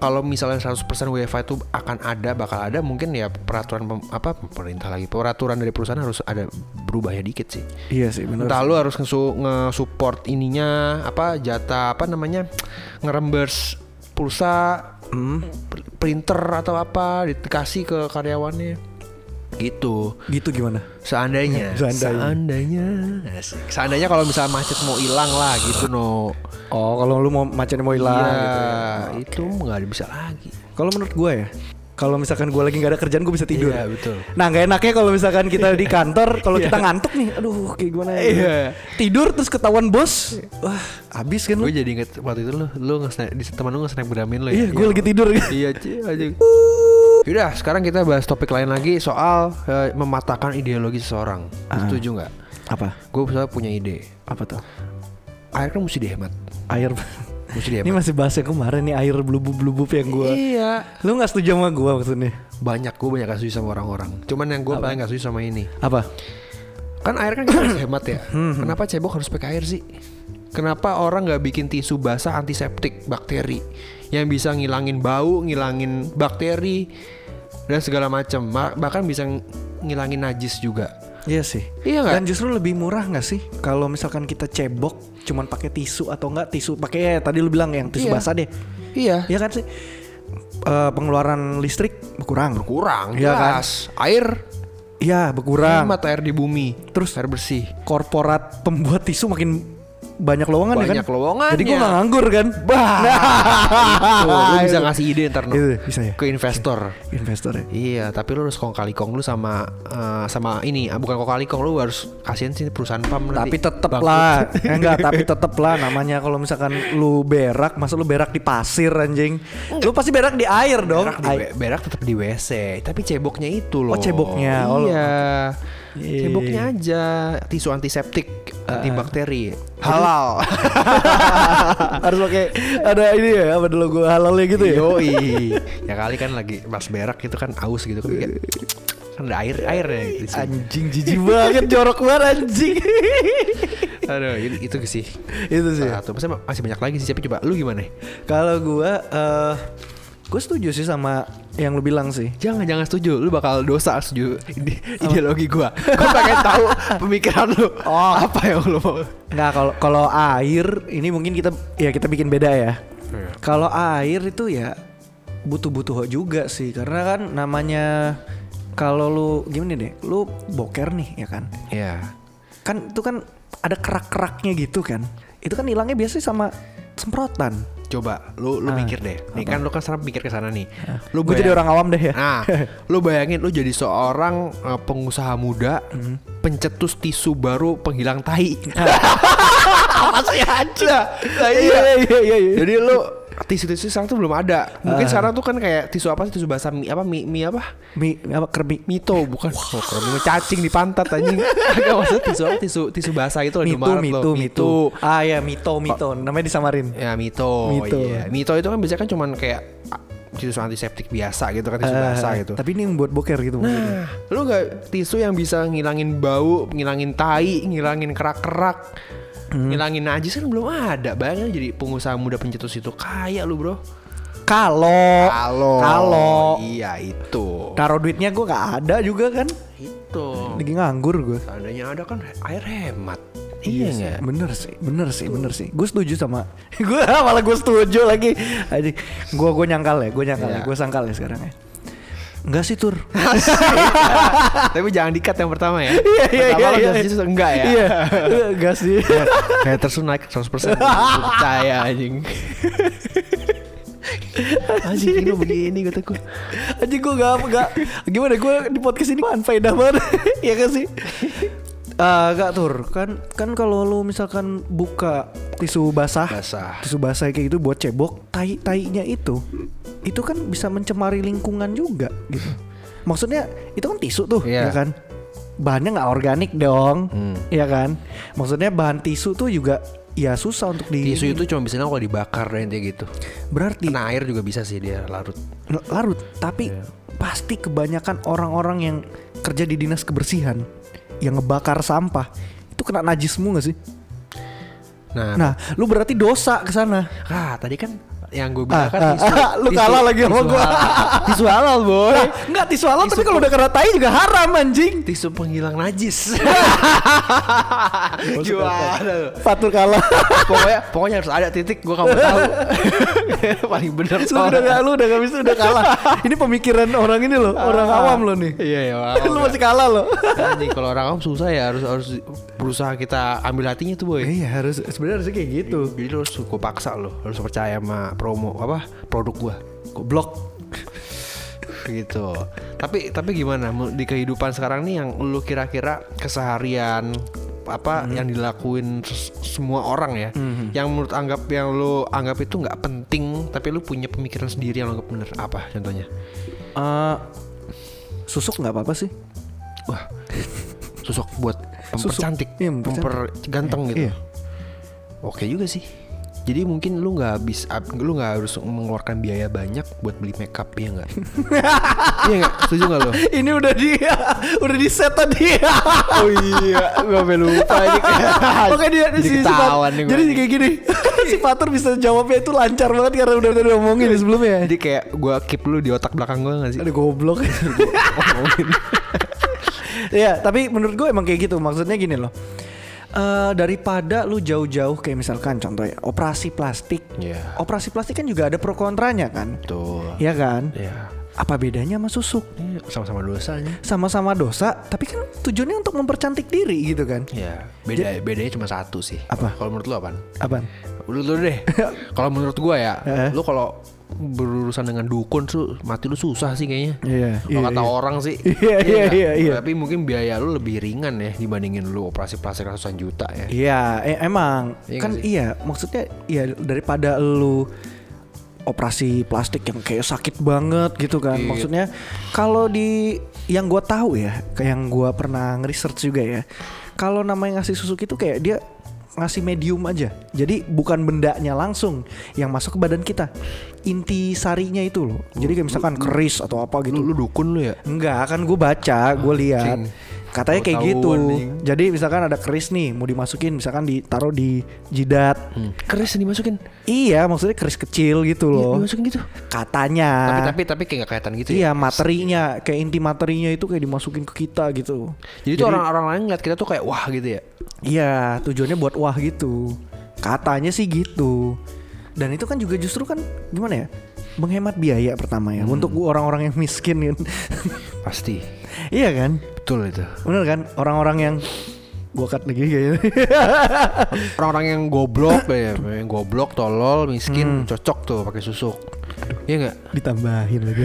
kalau misalnya 100% WFA itu akan ada bakal ada mungkin ya peraturan pem- apa pemerintah lagi peraturan dari perusahaan harus ada berubah ya dikit sih.
Iya sih, benar.
Entah lu harus ngesu- nge-support ininya apa jatah apa namanya ngerembers pulsa
Hmm,
pr- printer atau apa dikasih ke karyawannya gitu
Gitu gimana?
seandainya
Seandainya.
seandainya Asik. seandainya kalau misalnya macet mau hilang lah gitu no
Oh, kalau lu mau macetnya mau hilang
Iya,
gitu ya.
itu nggak bisa lagi
Kalau menurut gue ya, kalau misalkan gue lagi nggak ada kerjaan gue bisa tidur.
Iya, betul.
Nah nggak enaknya kalau misalkan kita di kantor, kalau kita ngantuk nih, aduh kayak gimana ya?
Iya.
Tidur terus ketahuan bos, wah habis kan lu?
gue jadi inget waktu itu lu lu nge di teman lu nge snapgramin lu ya
Iya, gue lagi tidur.
iya Ci, aja Yaudah, sekarang kita bahas topik lain lagi soal eh, mematahkan ideologi seseorang. Setuju nggak?
Apa?
Gue misalnya punya ide.
Apa tuh?
Air kan mesti dihemat.
Air.
Mesti
Ini
dihemat.
masih bahas yang kemarin nih air blubub-blubub yang gue.
Iya.
Lu nggak setuju sama gue maksudnya?
Banyak gue banyak kasus sama orang-orang. Cuman yang gue paling gak setuju sama ini.
Apa?
Kan air kan kita harus hemat ya.
Hmm.
Kenapa cebok harus pakai air sih? Kenapa orang nggak bikin tisu basah antiseptik bakteri yang bisa ngilangin bau, ngilangin bakteri dan segala macam. Ma- Bahkan bisa ng- ngilangin najis juga.
Iya sih.
Iya nggak?
Dan justru lebih murah nggak sih kalau misalkan kita cebok cuman pakai tisu atau enggak tisu pakai ya, tadi lu bilang yang tisu
Iya.
basah deh.
Iya.
Iya kan sih? Eh, pengeluaran listrik berkurang.
Kurang
Iya kan?
jelas. Air
Iya, berkurang.
hemat air di bumi.
Terus?
air bersih.
Korporat pembuat tisu makin banyak lowongan ya kan?
Banyak lowongannya.
Jadi gue nggak nganggur kan?
Bah. Tuh, lu
Itu.
bisa ngasih ide ntar Nok.
Itu, bisa ya?
ke investor.
investor ya.
Iya, tapi lu harus kong kali kong lu sama eh, sama ini, ah, bukan kong kali kong lu harus kasihin sih perusahaan pam nanti.
Tapi tetep
Bangkrut.
lah, eh, enggak. Tapi tetep lah namanya kalau misalkan lu berak, masa lu berak di pasir anjing? Lu pasti berak di air dong.
berak, di,
Air-
berak tetap di WC, tapi ceboknya itu loh.
Oh, ceboknya. Oh, lu-
Iya.
Iya.
Ceboknya aja tisu antiseptik, eh, antibakteri. Halal.
Harus pakai ada ini ya, apa dulu gue halalnya gitu ya.
Yoi. ya kali kan lagi pas berak itu kan aus gitu kan. kan ada air airnya di sini.
Anjing jijik banget, jorok banget anjing.
Aduh, itu- itu sih.
Itu sih. ya?
Satu, Maksudnya masih banyak lagi sih, tapi coba lu gimana?
Kalau gue, eh gue setuju sih sama yang lu bilang sih.
Jangan jangan setuju, lu bakal dosa setuju ide- ideologi gua. Gua pengen tahu pemikiran lu.
Oh.
Apa yang lu mau?
Nggak kalau kalau air ini mungkin kita ya kita bikin beda ya.
Iya.
Kalau air itu ya butuh-butuh juga sih karena kan namanya kalau lu gimana deh, lu boker nih ya kan.
Ya.
Kan itu kan ada kerak-keraknya gitu kan. Itu kan hilangnya biasanya sama semprotan.
Coba lu lu mikir deh. Nih kan lu kan sekarang mikir ke sana nih. Lu
Gue jadi
bayangin-
orang awam deh ya.
Nah, lu bayangin lu jadi seorang eh, pengusaha muda, pencetus tisu baru penghilang tai. Masih aja. Nah, iya.
iya iya. iya.
Jadi lu tisu-tisu sekarang tuh belum ada. Mungkin sekarang tuh kan kayak tisu apa sih? Tisu basah mie apa mie, mie apa?
Mi apa kermi
Mito bukan oh, kalau mau cacing di pantat anjing. Enggak maksud tisu apa? tisu tisu basah itu loh di
Mito,
Maret
Mito,
Oh, loh.
Mito. Ah ya, Mito, Mito. Namanya disamarin.
Ya Mito.
Mito.
Iya. Mito itu kan biasanya kan cuman kayak ah, tisu antiseptik biasa gitu kan tisu
Eh,
basah gitu.
Tapi ini yang buat boker gitu. maksudnya.
Nah, lu gak tisu yang bisa ngilangin bau, ngilangin tai, ngilangin kerak-kerak, ngilangin najis kan belum ada. Bayangin lu jadi pengusaha muda pencetus itu kaya lu, Bro.
Kalau kalau
Iya, itu.
taruh duitnya gue nggak ada juga kan.
Itu.
Lagi nganggur gue.
Seandainya ada kan air hemat. Iya
sih,
nggak?
Bener sih, bener sih, bener sih. Gue setuju sama. gue malah gue setuju lagi. Aji, gue gue nyangkal ya, gue nyangkal ya,
Iya.
gue sangkal ya sekarang ya. Enggak sih tur.
Tapi jangan dikat yang pertama ya.
Iya, iya,
pertama
iya,
lo
iya.
gas justru enggak ya.
Iya, enggak sih.
Iya. Kayak terus naik 100 persen. Percaya anjing. anjing ini begini kata gue.
Aji gue gak apa gak gimana gue di podcast ini manfaedah banget ya kan sih Ah, gak tur kan kan kalau lu misalkan buka tisu
Ah.
basah,
Basah.
tisu basah kayak gitu buat cebok tai tainya itu itu kan bisa mencemari lingkungan juga gitu maksudnya itu kan tisu tuh ya
Iya.
kan bahannya nggak organik dong
Hmm.
ya kan maksudnya bahan tisu tuh juga ya susah untuk di
Tisu itu cuma bisa nang kalau dibakar dan intinya gitu.
berarti
Kena air juga bisa sih dia larut.
L- larut tapi pasti kebanyakan orang-orang yang kerja di dinas kebersihan yang ngebakar sampah itu kena najis semua gak sih?
Nah,
Nah, lu berarti dosa ke sana.
ah, tadi kan yang gue
Ah, ah,
bilang kan tisu,
ah, lu kalah lagi sama
tisu
gua.
halal. tisu halal
Eh,
boy.
Enggak tisu halal tapi kan kalau udah kena tai juga haram anjing.
Tisu penghilang najis.
Oh,
Gimana?
Fatur kalah.
pokoknya pokoknya harus ada titik gua kamu tahu paling benar
lu udah gak, lu udah gak bisa udah kalah. Ini pemikiran orang ini loh, orang awam loh nih.
iya ya
lu masih kalah loh.
anjing kalau orang awam susah ya harus harus berusaha kita ambil hatinya tuh boy
Iya harus sebenarnya harusnya kayak gitu.
jadi lu harus gua paksa lo harus percaya sama promo apa produk gua
Goblok.
gitu tapi tapi gimana mu- di kehidupan sekarang nih yang lu kira-kira keseharian apa yang dilakuin s- semua orang ya yang menurut anggap yang lu anggap itu nggak penting tapi lu punya pemikiran sendiri yang lu anggap bener apa contohnya
Eh, susuk nggak apa-apa sih?
Wah, susuk buat mempercantik,
Iya, mempercantik.
memperganteng gitu.
Iya.
Oke juga sih. Jadi mungkin lu nggak habis, ab- lu nggak harus mengeluarkan biaya banyak buat beli makeup ya nggak? iya nggak? Setuju nggak lo?
Ini udah di udah di set tadi.
Oh iya, gue sampe lupa ini.
Makanya dia
Jadi
si, si Fat-
ketahuan nih gua.
Jadi kayak gini Si Fatur bisa jawabnya itu lancar banget Karena udah udah ngomongin sebelumnya
Jadi kayak gue keep lu di otak belakang gue nggak sih?
Ada goblok Iya tapi menurut gue emang kayak gitu Maksudnya gini loh Eh, daripada lu jauh-jauh kayak misalkan contoh ya operasi plastik,
Iya.
operasi plastik kan juga ada pro kontranya kan,
Tuh.
Iya kan?
Iya.
apa bedanya sama susuk?
Iya, sama-sama dosanya.
Sama-sama dosa, tapi kan tujuannya untuk mempercantik diri gitu kan?
Ya, beda bedanya cuma satu sih.
Apa?
Kalau menurut lu apaan?
Apaan?
Lu dulu deh. kalau menurut gua ya, lu kalau berurusan dengan dukun tuh mati lu susah sih kayaknya.
Iya,
Kalau
iya,
kata
iya.
orang sih.
Iya, iya,
nggak?
iya, iya.
Tapi mungkin biaya lu lebih ringan ya dibandingin lu operasi plastik ratusan juta ya.
Iya, e- emang
Iya
kan
nggak
iya, maksudnya iya daripada lu operasi plastik yang kayak sakit banget gitu
Iya.
kan. Maksudnya kalau di yang gua tahu ya, kayak yang gua pernah research juga ya. Kalau namanya ngasih susuk itu kayak dia ngasih medium aja. Jadi bukan bendanya langsung yang masuk ke badan kita. Inti sarinya itu loh. Jadi kayak misalkan
Hmm,
keris atau apa gitu.
Lu, lu dukun lu ya?
Enggak, kan gue baca, gue
Ah,
lihat.
Cing.
Katanya kayak
Tahu-tahuan
gitu.
nih.
Jadi misalkan ada keris nih, mau dimasukin misalkan ditaruh di jidat.
Hmm. Keris yang dimasukin.
Iya, maksudnya keris kecil gitu
Iya,
loh.
dimasukin gitu.
Katanya.
tapi tapi tapi kayak gak kelihatan gitu ya.
Ah. iya, materinya kayak inti materinya itu kayak dimasukin ke kita gitu.
Jadi, tuh orang-orang lain ngeliat kita tuh kayak wah gitu ya.
Iya, tujuannya buat wah gitu. Katanya sih gitu. Dan itu kan juga justru kan gimana ya? Menghemat biaya pertama ya
Hmm.
untuk orang-orang yang miskin kan.
Pasti.
iya kan?
Betul itu.
Bener kan orang-orang yang gua cut lagi kayaknya.
Orang-orang yang goblok ya, yang goblok, tolol, miskin, cocok tuh pakai susuk. Iya nggak?
Ditambahin lagi.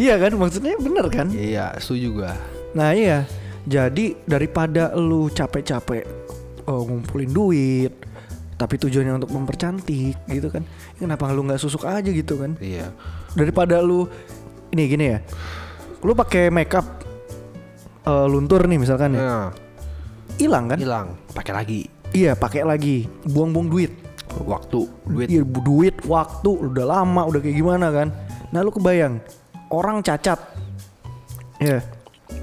iya kan maksudnya bener kan?
Iya, setuju gua.
Nah iya. Jadi daripada lu capek-capek oh, ngumpulin duit tapi tujuannya untuk mempercantik gitu kan. Kenapa lu nggak susuk aja gitu kan?
Iya.
Daripada lu ini gini ya. Lu pakai makeup eh, luntur nih misalkan ya.
Nah,
Hilang kan?
hilang. Pakai lagi
Iya, pakai lagi. Buang-buang duit.
waktu, duit.
Iya, bu- duit, waktu, udah lama, udah kayak gimana kan? Nah lu kebayang orang cacat, ya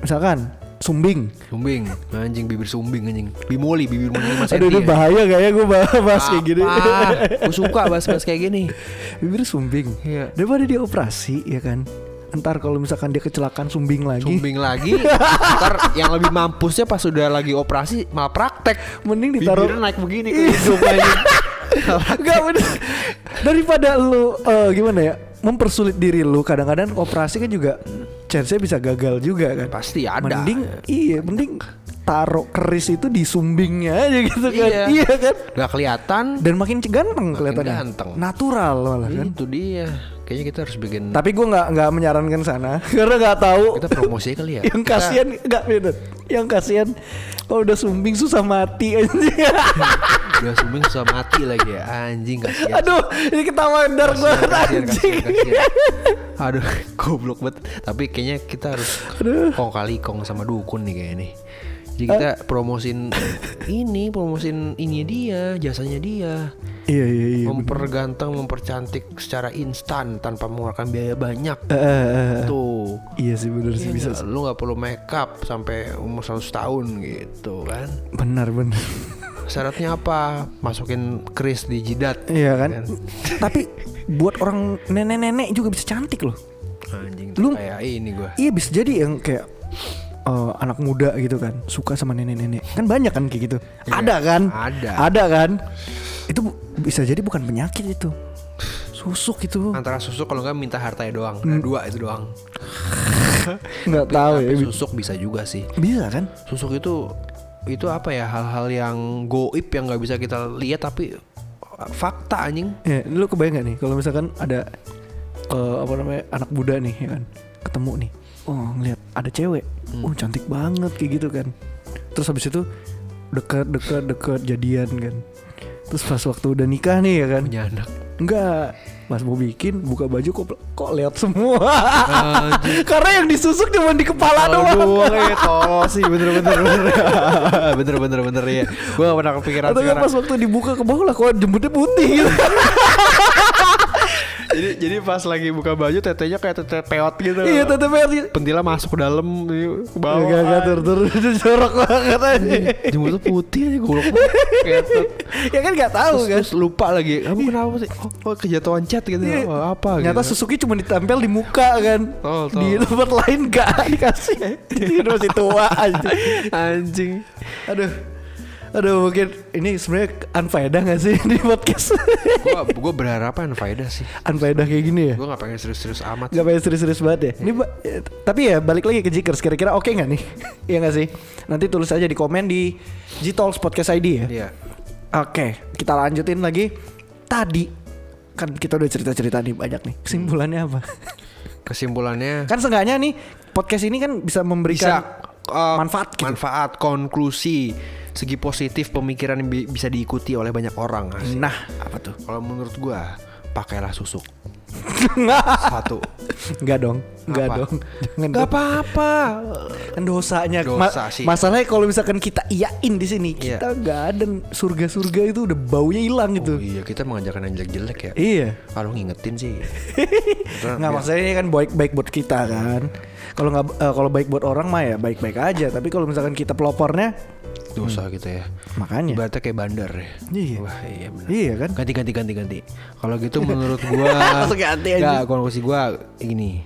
misalkan sumbing.
Sumbing, anjing bibir sumbing anjing. Bimoli, bibir muli Mas
Aduh ini bahaya kayaknya gue bahas kayak gini.
Gue ya? suka bahas-bahas kayak gini.
Bibir sumbing.
Iya.
Daripada dia operasi ya kan. Ntar kalau misalkan dia kecelakaan sumbing lagi,
Sumbing lagi. Ntar yang lebih mampusnya pas udah lagi operasi malah praktek.
mending ditaruh
Bibirnya naik begini ke hidung anjing.
Gak bener Daripada lu eh, Gimana ya Mempersulit diri lu Kadang-kadang operasi kan juga Chance-nya bisa gagal juga kan
Pasti ada.
Mending Iya mending Taruh keris itu di sumbingnya aja gitu kan
Iya.
kan
Gak kelihatan.
Dan makin ganteng kelihatannya
ganteng. Hmm.
Natural malah kan
Itu dia. Kayaknya kita harus bikin
Tapi gue gak, nggak menyarankan sana Karena gak tahu
kita promosi kali ya.
Yang kasihan Gak bener Yang kasihan kalau udah sumbing susah mati
Iya Kita Udah sumbing susah mati lagi ya. Anjing kasihan.
Aduh ini ketawa dar gue
Kasihan, kasihan,
anjing
kasihan, kasihan. Iya, Aduh, goblok banget. Tapi kayaknya kita harus kong kali kong sama dukun nih kayaknya nih. Jadi kita
Eh.
promosin ini, promosin ini dia, jasanya dia.
Iya iya iya
Memperganteng, mempercantik secara instan tanpa mengeluarkan biaya banyak.
Eh, eh, eh, eh.
Tuh.
Iya sih bener sih
Iya
bisa
nggak? lu nggak perlu make up sampai umur 100 tahun gitu kan
Benar benar
syaratnya apa masukin keris di jidat
Iya kan Tapi buat orang nenek-nenek juga bisa cantik loh
anjing
Lu-
kayak ini gua
Iya bisa jadi yang kayak eh, anak muda gitu kan Suka sama nenek-nenek Kan banyak kan kayak gitu Ada kan
ada.
Ada kan Itu bu- bisa jadi bukan penyakit itu Susuk itu
antara susuk kalau nggak minta hartanya doang
Hmm.
Nah, dua itu doang
nggak tahu ya
Tapi susuk bisa juga sih
Bisa kan
susuk itu itu apa ya hal-hal yang goib yang nggak bisa kita lihat tapi eh, fakta anjing
Ya, lu kebayang gak nih kalau misalkan ada eh, apa namanya anak muda nih ya kan ketemu nih, oh ngeliat ada cewek, oh cantik banget kayak gitu kan. Terus habis itu dekat dekat dekat jadian kan. Terus pas waktu udah nikah nih ya kan,
punya anak
enggak Mas mau bikin buka baju kok kok lihat semua. Karena yang disusuk cuma di kepala
Tolol
doang.
doang ya tolol sih bener-bener bener bener-bener bener ya gue gak pernah kepikiran
Atau kan
sekarang
pas waktu dibuka ke bawah lah kok jembutnya putih gitu.
jadi jadi pas lagi buka baju tetenya kayak tete peot gitu
Iya, tetep aja. Iya,
pentila masuk ke dalam yuk, ke bawah Iya.
Gak gak tur tur jorok banget aja.
jemput putih aja golok banget. kayak tet-
ya kan nggak tahu
terus,
kan.
terus lupa lagi kamu kenapa sih oh, oh, kejatuhan cat gitu
Iya.
oh, apa
Ternyata
gitu.
Suzuki cuma ditempel di muka kan.
Tol, tol. Iya.
Di tempat lain gak dikasih. Jadi udah masih tua aja.
anjing
Aduh. Aduh mungkin ini sebenarnya unfaedah gak sih di podcast?
Gua gua berharapan faedah sih.
unfaedah kayak gini ya?
Gua nggak pengen serius-serius amat.
Gak pengen serius-serius banget ya. Ini ba- eh, tapi ya balik lagi ke Jikers kira-kira oke nggak nih? Iya nggak sih? Nanti tulis aja di komen di Gtalks Podcast ID ya.
Iya.
Oke, kita lanjutin lagi. Tadi kan kita udah cerita-cerita nih banyak nih. Kesimpulannya apa?
Kesimpulannya
kan seenggaknya nih podcast ini kan bisa memberikan
eh,
manfaat gitu.
manfaat konklusi segi positif pemikiran yang bi- bisa diikuti oleh banyak orang. asik.
Nah, apa tuh?
Kalau menurut gua pakailah susuk. Satu.
Enggak dong, enggak
Apa?
dong. Jangan
Gak
dong.
apa-apa.
Kan dosanya.
Dosa sih.
Masalahnya kalau misalkan kita iyain di sini,
Iya.
kita nggak ada surga-surga itu udah baunya hilang gitu.
Oh iya kita mengajarkan yang jelek-jelek ya.
Iya. Hmm.
Kalau ngingetin sih. Nah,
Nggak
iya.
maksudnya ini kan baik-baik buat kita kan. Kalau nggak eh, kalau baik buat orang mah ya baik-baik aja. Tapi kalau misalkan kita pelopornya,
Dosa kita ya.
makanya.
Ibaratnya kayak bandar ya.
Iya.
Wah, iya benar.
Iya kan?
Ganti ganti ganti ganti. Kalau gitu menurut gua
Langsung ganti aja.
Nggak, konklusi gua gini.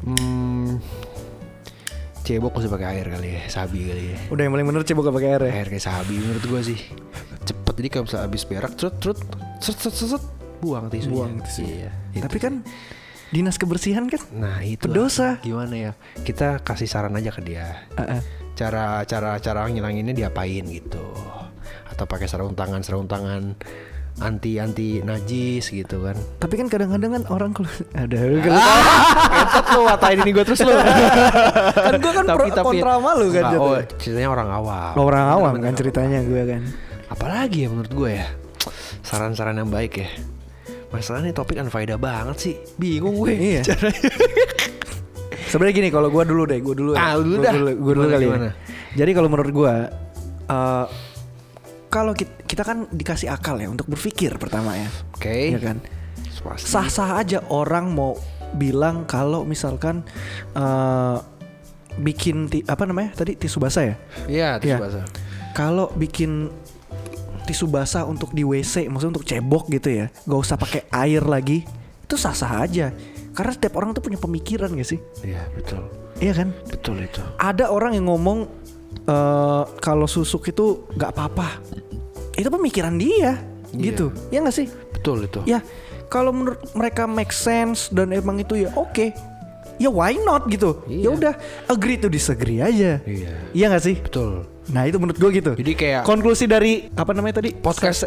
Hmm, cebok mesti pakai air kali ya, sabi kali ya. Eh,
Udah yang paling bener coba gak pakai air ya.
Air kayak sabi menurut gua sih. Cepet jadi kalau misalnya habis berak, trut trut, set set set, set, buang tisunya.
Buang tisunya.
Iya. Itu.
Tapi kan dinas kebersihan kan.
Nah itu
Berdosa.
Gimana ya Kita kasih saran aja ke dia
Heeh.
Cara cara cara ngilanginnya diapain gitu Atau pakai sarung tangan Sarung tangan anti anti najis gitu kan
Tapi kan kadang-kadang kan orang kalau ada
Ah. Tetep lu watain ini gue terus lu
kan gue kan pro- kontra sama lu kan
Enggak,
jatuhnya.
oh, Ceritanya orang awam
orang
Bener,
awam
bener,
kan
orang
ceritanya gue kan.
awam. Apalagi ya menurut gue ya Saran-saran yang baik ya Masalahnya ini topik unfaedah banget sih Bingung gue
Iya.
Caranya.
Sebenarnya gini kalau gue dulu deh, gue dulu. ya.
Ah, lu
Gua
dah.
dulu, gua dulu
Gimana,
kali. ya.
gimana?
Jadi kalau menurut gue, eh kalau kita, kita kan dikasih akal ya untuk berpikir pertama ya,
Oke
ya kan.
Pasti.
Sah-sah aja orang mau bilang kalau misalkan eh bikin ti- apa namanya tadi tisu basah ya.
Iya
Iya.
terus bahasa
Kalau bikin tisu basah untuk di WC, maksudnya untuk cebok gitu ya, gak usah pakai air lagi, itu sah-sah aja. Karena setiap orang tuh punya pemikiran gak sih?
Iya betul
Iya kan?
Betul itu.
Ada orang yang ngomong eh, kalau susuk itu gak apa-apa. Itu pemikiran dia,
Iya.
gitu. Ya gak sih?
Betul itu.
Ya, kalau menurut mereka make sense dan emang itu ya oke. Ya why not gitu? Ya
Iya.
udah agree to disagree aja.
Iya.
Iya gak sih?
Betul.
Nah itu menurut gue gitu.
Jadi kayak-
konklusi dari apa namanya tadi
Podcast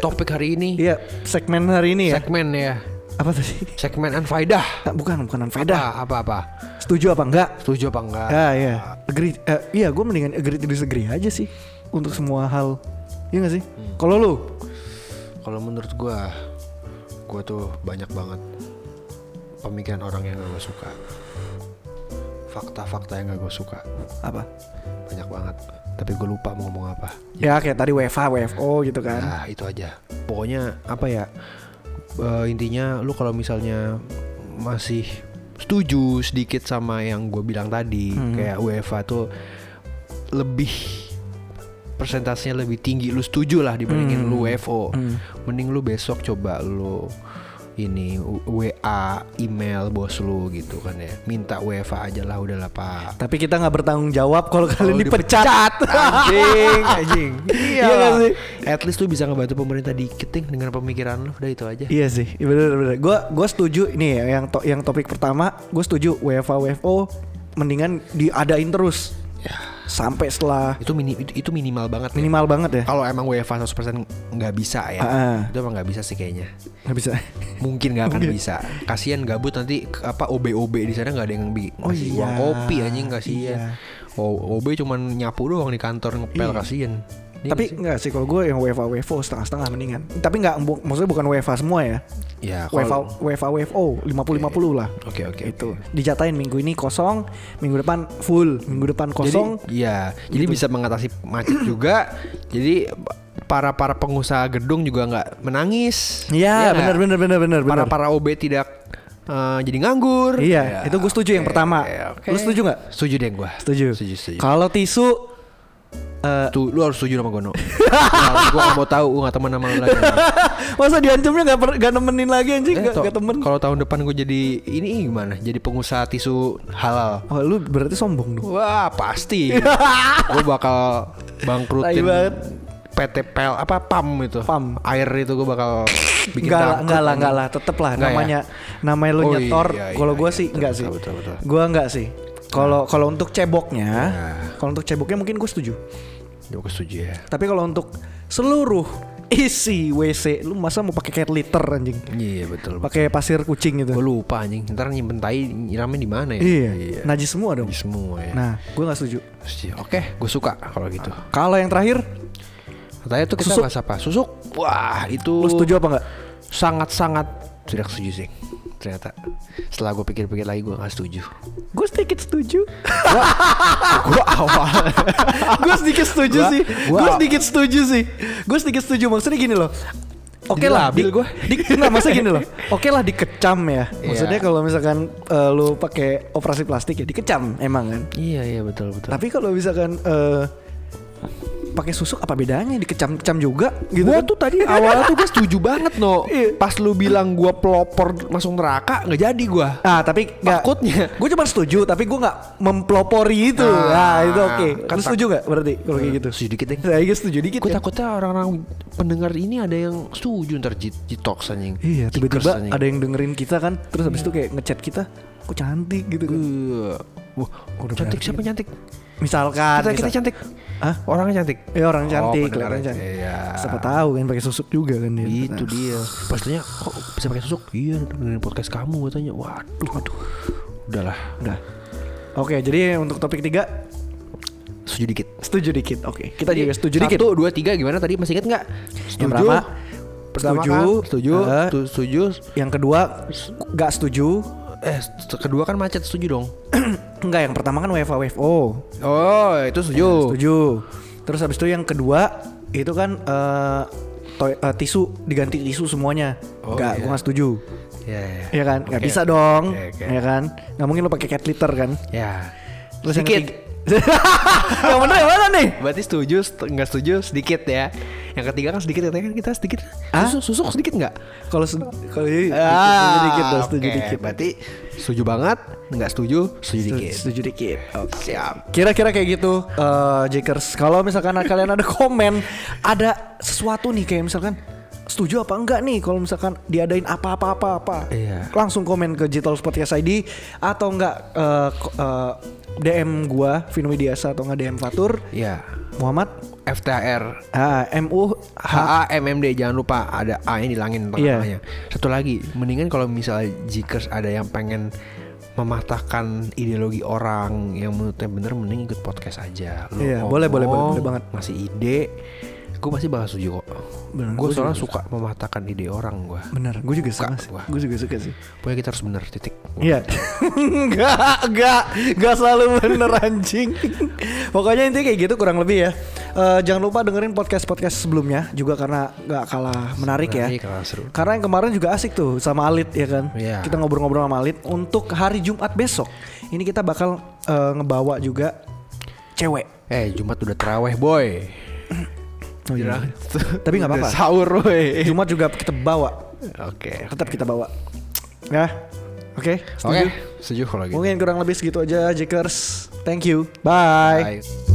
Se- se-
topik hari ini
Iya segmen hari ini ya.
segmen ya.
apa tadi?
Segmen unfaedah.
Ah, bukan bukan Anfaida.
Apa apa?
Setuju apa enggak?
Setuju apa enggak?
Ah ya. Agree. eh, iya gue mendingan agree to disagree aja sih untuk semua hal. Iya gak sih? Kalau lu
Kalau menurut gua gua tuh banyak banget pemikiran orang yang gak gua suka. Fakta-fakta yang gak gua suka
apa?
banyak banget. Tapi gua lupa mau ngomong apa.
Ya kayak tadi WFA, WFO gitu kan.
Nah, itu aja. Pokoknya apa ya? eh, intinya lu kalau misalnya masih setuju sedikit sama yang gue bilang tadi, kayak UEFA tuh lebih persentasenya lebih tinggi lu setuju lah dibandingin lu WFO. Mending lu besok coba lu ini U- WA, email bos lu gitu kan ya. Minta UEFA aja lah udahlah Pak.
Tapi kita nggak bertanggung jawab kalau kalian
Kalau
dipecat.
anjing anjing iya
Iya nggak
lah.
sih?
at least lu bisa ngebantu pemerintah dikit Ting, dengan pemikiran lu udah itu aja
Iya sih, iya bener bener. Gue gue setuju nih ya, yang to- yang topik pertama, gue setuju WFA WFO mendingan diadain terus sampai setelah
itu mini itu, itu minimal banget nih
minimal banget ya.
kalau emang UEFA 100% nggak bisa ya
Ah.
itu emang nggak bisa sih kayaknya
Nggak bisa.
mungkin nggak akan bisa kasihan gabut nanti ke- apa OB OB di sana nggak ada yang bi
Oh
ngasih
iya.
uang kopi anjing kasihan
Iya.
oh, OB cuman nyapu doang di kantor ngepel kasihan Iya
Tapi
nggak sih?
nggak sih kalau gue yang WFA WFO setengah-setengah mendingan. Tapi nggak bu- maksudnya bukan WFA semua ya.
ya
WFA
kalau
WFA WFO 50-50 lah.
oke oke
Itu dijatain minggu ini kosong, minggu depan full, minggu depan kosong. Gitu.
Jadi, iya, jadi bisa mengatasi macet juga. Jadi para para pengusaha gedung juga nggak menangis.
ya,
Iya nggak?
bener bener bener bener bener.
Para para OB tidak eh, jadi nganggur.
Iya,
Ya,
itu gue setuju yang
oke,
pertama. Lu
oke.
setuju nggak?
Setuju deh gue.
Setuju.
Setuju setuju.
Kalau tisu eh
Tuh, lu harus setuju sama gue no. gue gak mau tahu, gue gak teman sama lu lagi.
masa diancamnya gak, per, gak nemenin lagi anjing,
Eh,
gak,
to-
gak temen.
Kalau tahun depan gue jadi ini gimana? Jadi pengusaha tisu halal.
Oh, lu berarti sombong dong.
Wah pasti Gue bakal
Tai
bangkrutin
banget.
PT PL apa PAM itu.
PAM.
Air itu gue bakal bikin
Enggak lah,
takut.
enggak lah, enggak lah, tetep lah
Enggak ya?
namanya namanya lu
Oh,
nyetor.
iya, iya,
kalau gua
iya,
sih
betul,
enggak
betul,
sih.
betul, betul. Nah.
Gua enggak sih. Kalau kalau untuk ceboknya, kalau untuk ceboknya mungkin gua setuju.
Ya, Gue setuju ya.
Tapi kalau untuk seluruh isi WC, lu masa mau pakai cat litter anjing?
Iya betul. betul.
Pakai pasir kucing gitu.
Gue lupa anjing. Ntar nyimpen tai nyiramnya di mana ya?
Iya, najis semua dong.
Di semua ya.
Nah, gua nggak setuju.
Setuju. Oke, gue suka kalau gitu.
Kalau yang terakhir,
Katanya tuh kita
Susuk.
bahas apa? Susuk. Wah, itu
lu setuju apa enggak?
sangat-sangat tidak setuju sih. Ternyata setelah gue pikir-pikir lagi gue gak setuju.
Gue sedikit setuju.
gue awal
gue sedikit setuju
Gua-
sih.
gua-
Gue sedikit setuju sih. Gue sedikit setuju maksudnya gini loh. Oke
Jadi
lah,
labil
gue. Enggak, maksudnya gini loh. Oke lah dikecam ya. Maksudnya
Iya.
kalau misalkan eh, lu pakai operasi plastik ya dikecam emang kan.
iya iya betul betul.
Tapi kalau misalkan eh, pakai susuk apa bedanya dikecam-kecam juga gitu
Gua
kan?
tuh tadi awalnya tuh gue setuju banget no.
Iya.
Pas lu bilang gue pelopor masuk neraka nggak jadi gue.
Ah, tapi
Takutnya.
Gue cuma setuju, tapi gue nggak mempelopori itu.
Ah,
Nah, itu oke.
kan
Lu
tak-
setuju nggak berarti
Iya,
kalau kayak gitu?
Setuju dikit deh.
Nah, iya setuju dikit.
Gue
ya.
takutnya orang-orang pendengar ini ada yang setuju ntar jit jitoks anjing.
Iya,
Jikers,
tiba-tiba
anjing.
ada yang dengerin kita kan, terus habis
Iya.
itu kayak ngechat kita, kok cantik gitu kan.
Eh, Wah,
Udah berarti.
cantik siapa cantik?
Misalkan
Kita,
misal-
kita cantik.
Hah?
Orangnya cantik.
Ya orang
Oh,
cantik,
pendengar
kelihatan
aja.
cantik.
Iya.
Siapa tahu kan pakai susuk juga kan dia.
Itu
Nah.
Gitu dia. Pastinya kok bisa pakai susuk? Iya, dengerin podcast kamu gue tanya. Waduh, aduh. Udahlah,
Udah. Nah, Oke, jadi untuk topik tiga
setuju dikit.
setuju dikit. Oke, kita juga setuju
Satu,
dikit.
dua, tiga gimana tadi masih inget nggak?
Yang pertama,
pertama
setuju.
kan, setuju,
Eh.
tu- setuju.
Yang kedua nggak setuju.
Eh, st- kedua kan macet setuju dong.
Enggak, yang pertama kan WFA WFO.
Oh, itu setuju.
Setuju. Terus habis itu yang kedua itu kan eh, toy- eh, tisu diganti tisu semuanya.
Oh,
Enggak,
iya.
gua nggak setuju.
Ya,
Ya kan? Nggak
Oke.
bisa dong.
Oke, oke.
Ya kan? Nggak mungkin lo pakai cat litter kan?
Ya.
Terus yang
sedikit.
ketiga- yang bener yang mana nih?
Berarti setuju, st- nggak setuju sedikit ya. Yang ketiga kan sedikit katanya kan kita sedikit.
Hah?
Susuk, susuk sedikit nggak? Ah,
Kalau se- kalau ini setuju dikit dong, setuju
oke.
Ah, dikit.
Berarti setuju banget, nggak setuju, setuju
Setuju,
dikit.
setuju dikit. Oke.
Siap.
Kira-kira kayak gitu eh, Jakers. Kalau misalkan kalian ada komen, ada sesuatu nih kayak misalkan setuju apa enggak nih kalau misalkan diadain apa-apa apa-apa.
Iya.
Langsung komen ke Digital Podcast ID atau enggak eh, ko- eh, DM gua Vino Widiasa atau enggak DM Fatur
Ya.
Muhammad
FTR
ah, MU
H A M M D jangan lupa ada A nya dilangin
Iya.
tengahnya. Satu lagi, mendingan kalau misalnya jikers ada yang pengen mematahkan ideologi orang yang menurutnya bener mending ikut podcast aja. Lu
Iya, boleh, boleh, boleh, boleh banget.
Masih ide, gue pasti bakal setuju kok.
Bener,
Gue
gua
soalnya suka mematahkan ide orang gue.
Bener, gue juga suka sih.
gua.
Gue juga suka sih.
Pokoknya kita harus bener titik.
Iya. Enggak, enggak, enggak selalu bener anjing. Pokoknya intinya kayak gitu kurang lebih ya. Eh, jangan lupa dengerin podcast-podcast sebelumnya juga karena nggak kalah menarik ya.
Menarik, kalah seru.
Karena yang kemarin juga asik tuh sama Alit ya kan.
Iya.
Kita ngobrol-ngobrol sama Alit untuk hari Jumat besok. Ini kita bakal eh, ngebawa juga cewek.
Eh Jumat udah teraweh boy.
Oh, iya. Tapi
Tapi
nggak apa-apa.
nggak apa-apa. Sahur boy.
Jumat juga kita bawa,
Oke.
tetap kita bawa. Ya. Oke,
Oke.
setuju?
Setuju kalau gitu.
Mungkin kurang lebih segitu aja Jakers. Thank you. Bye.
Bye.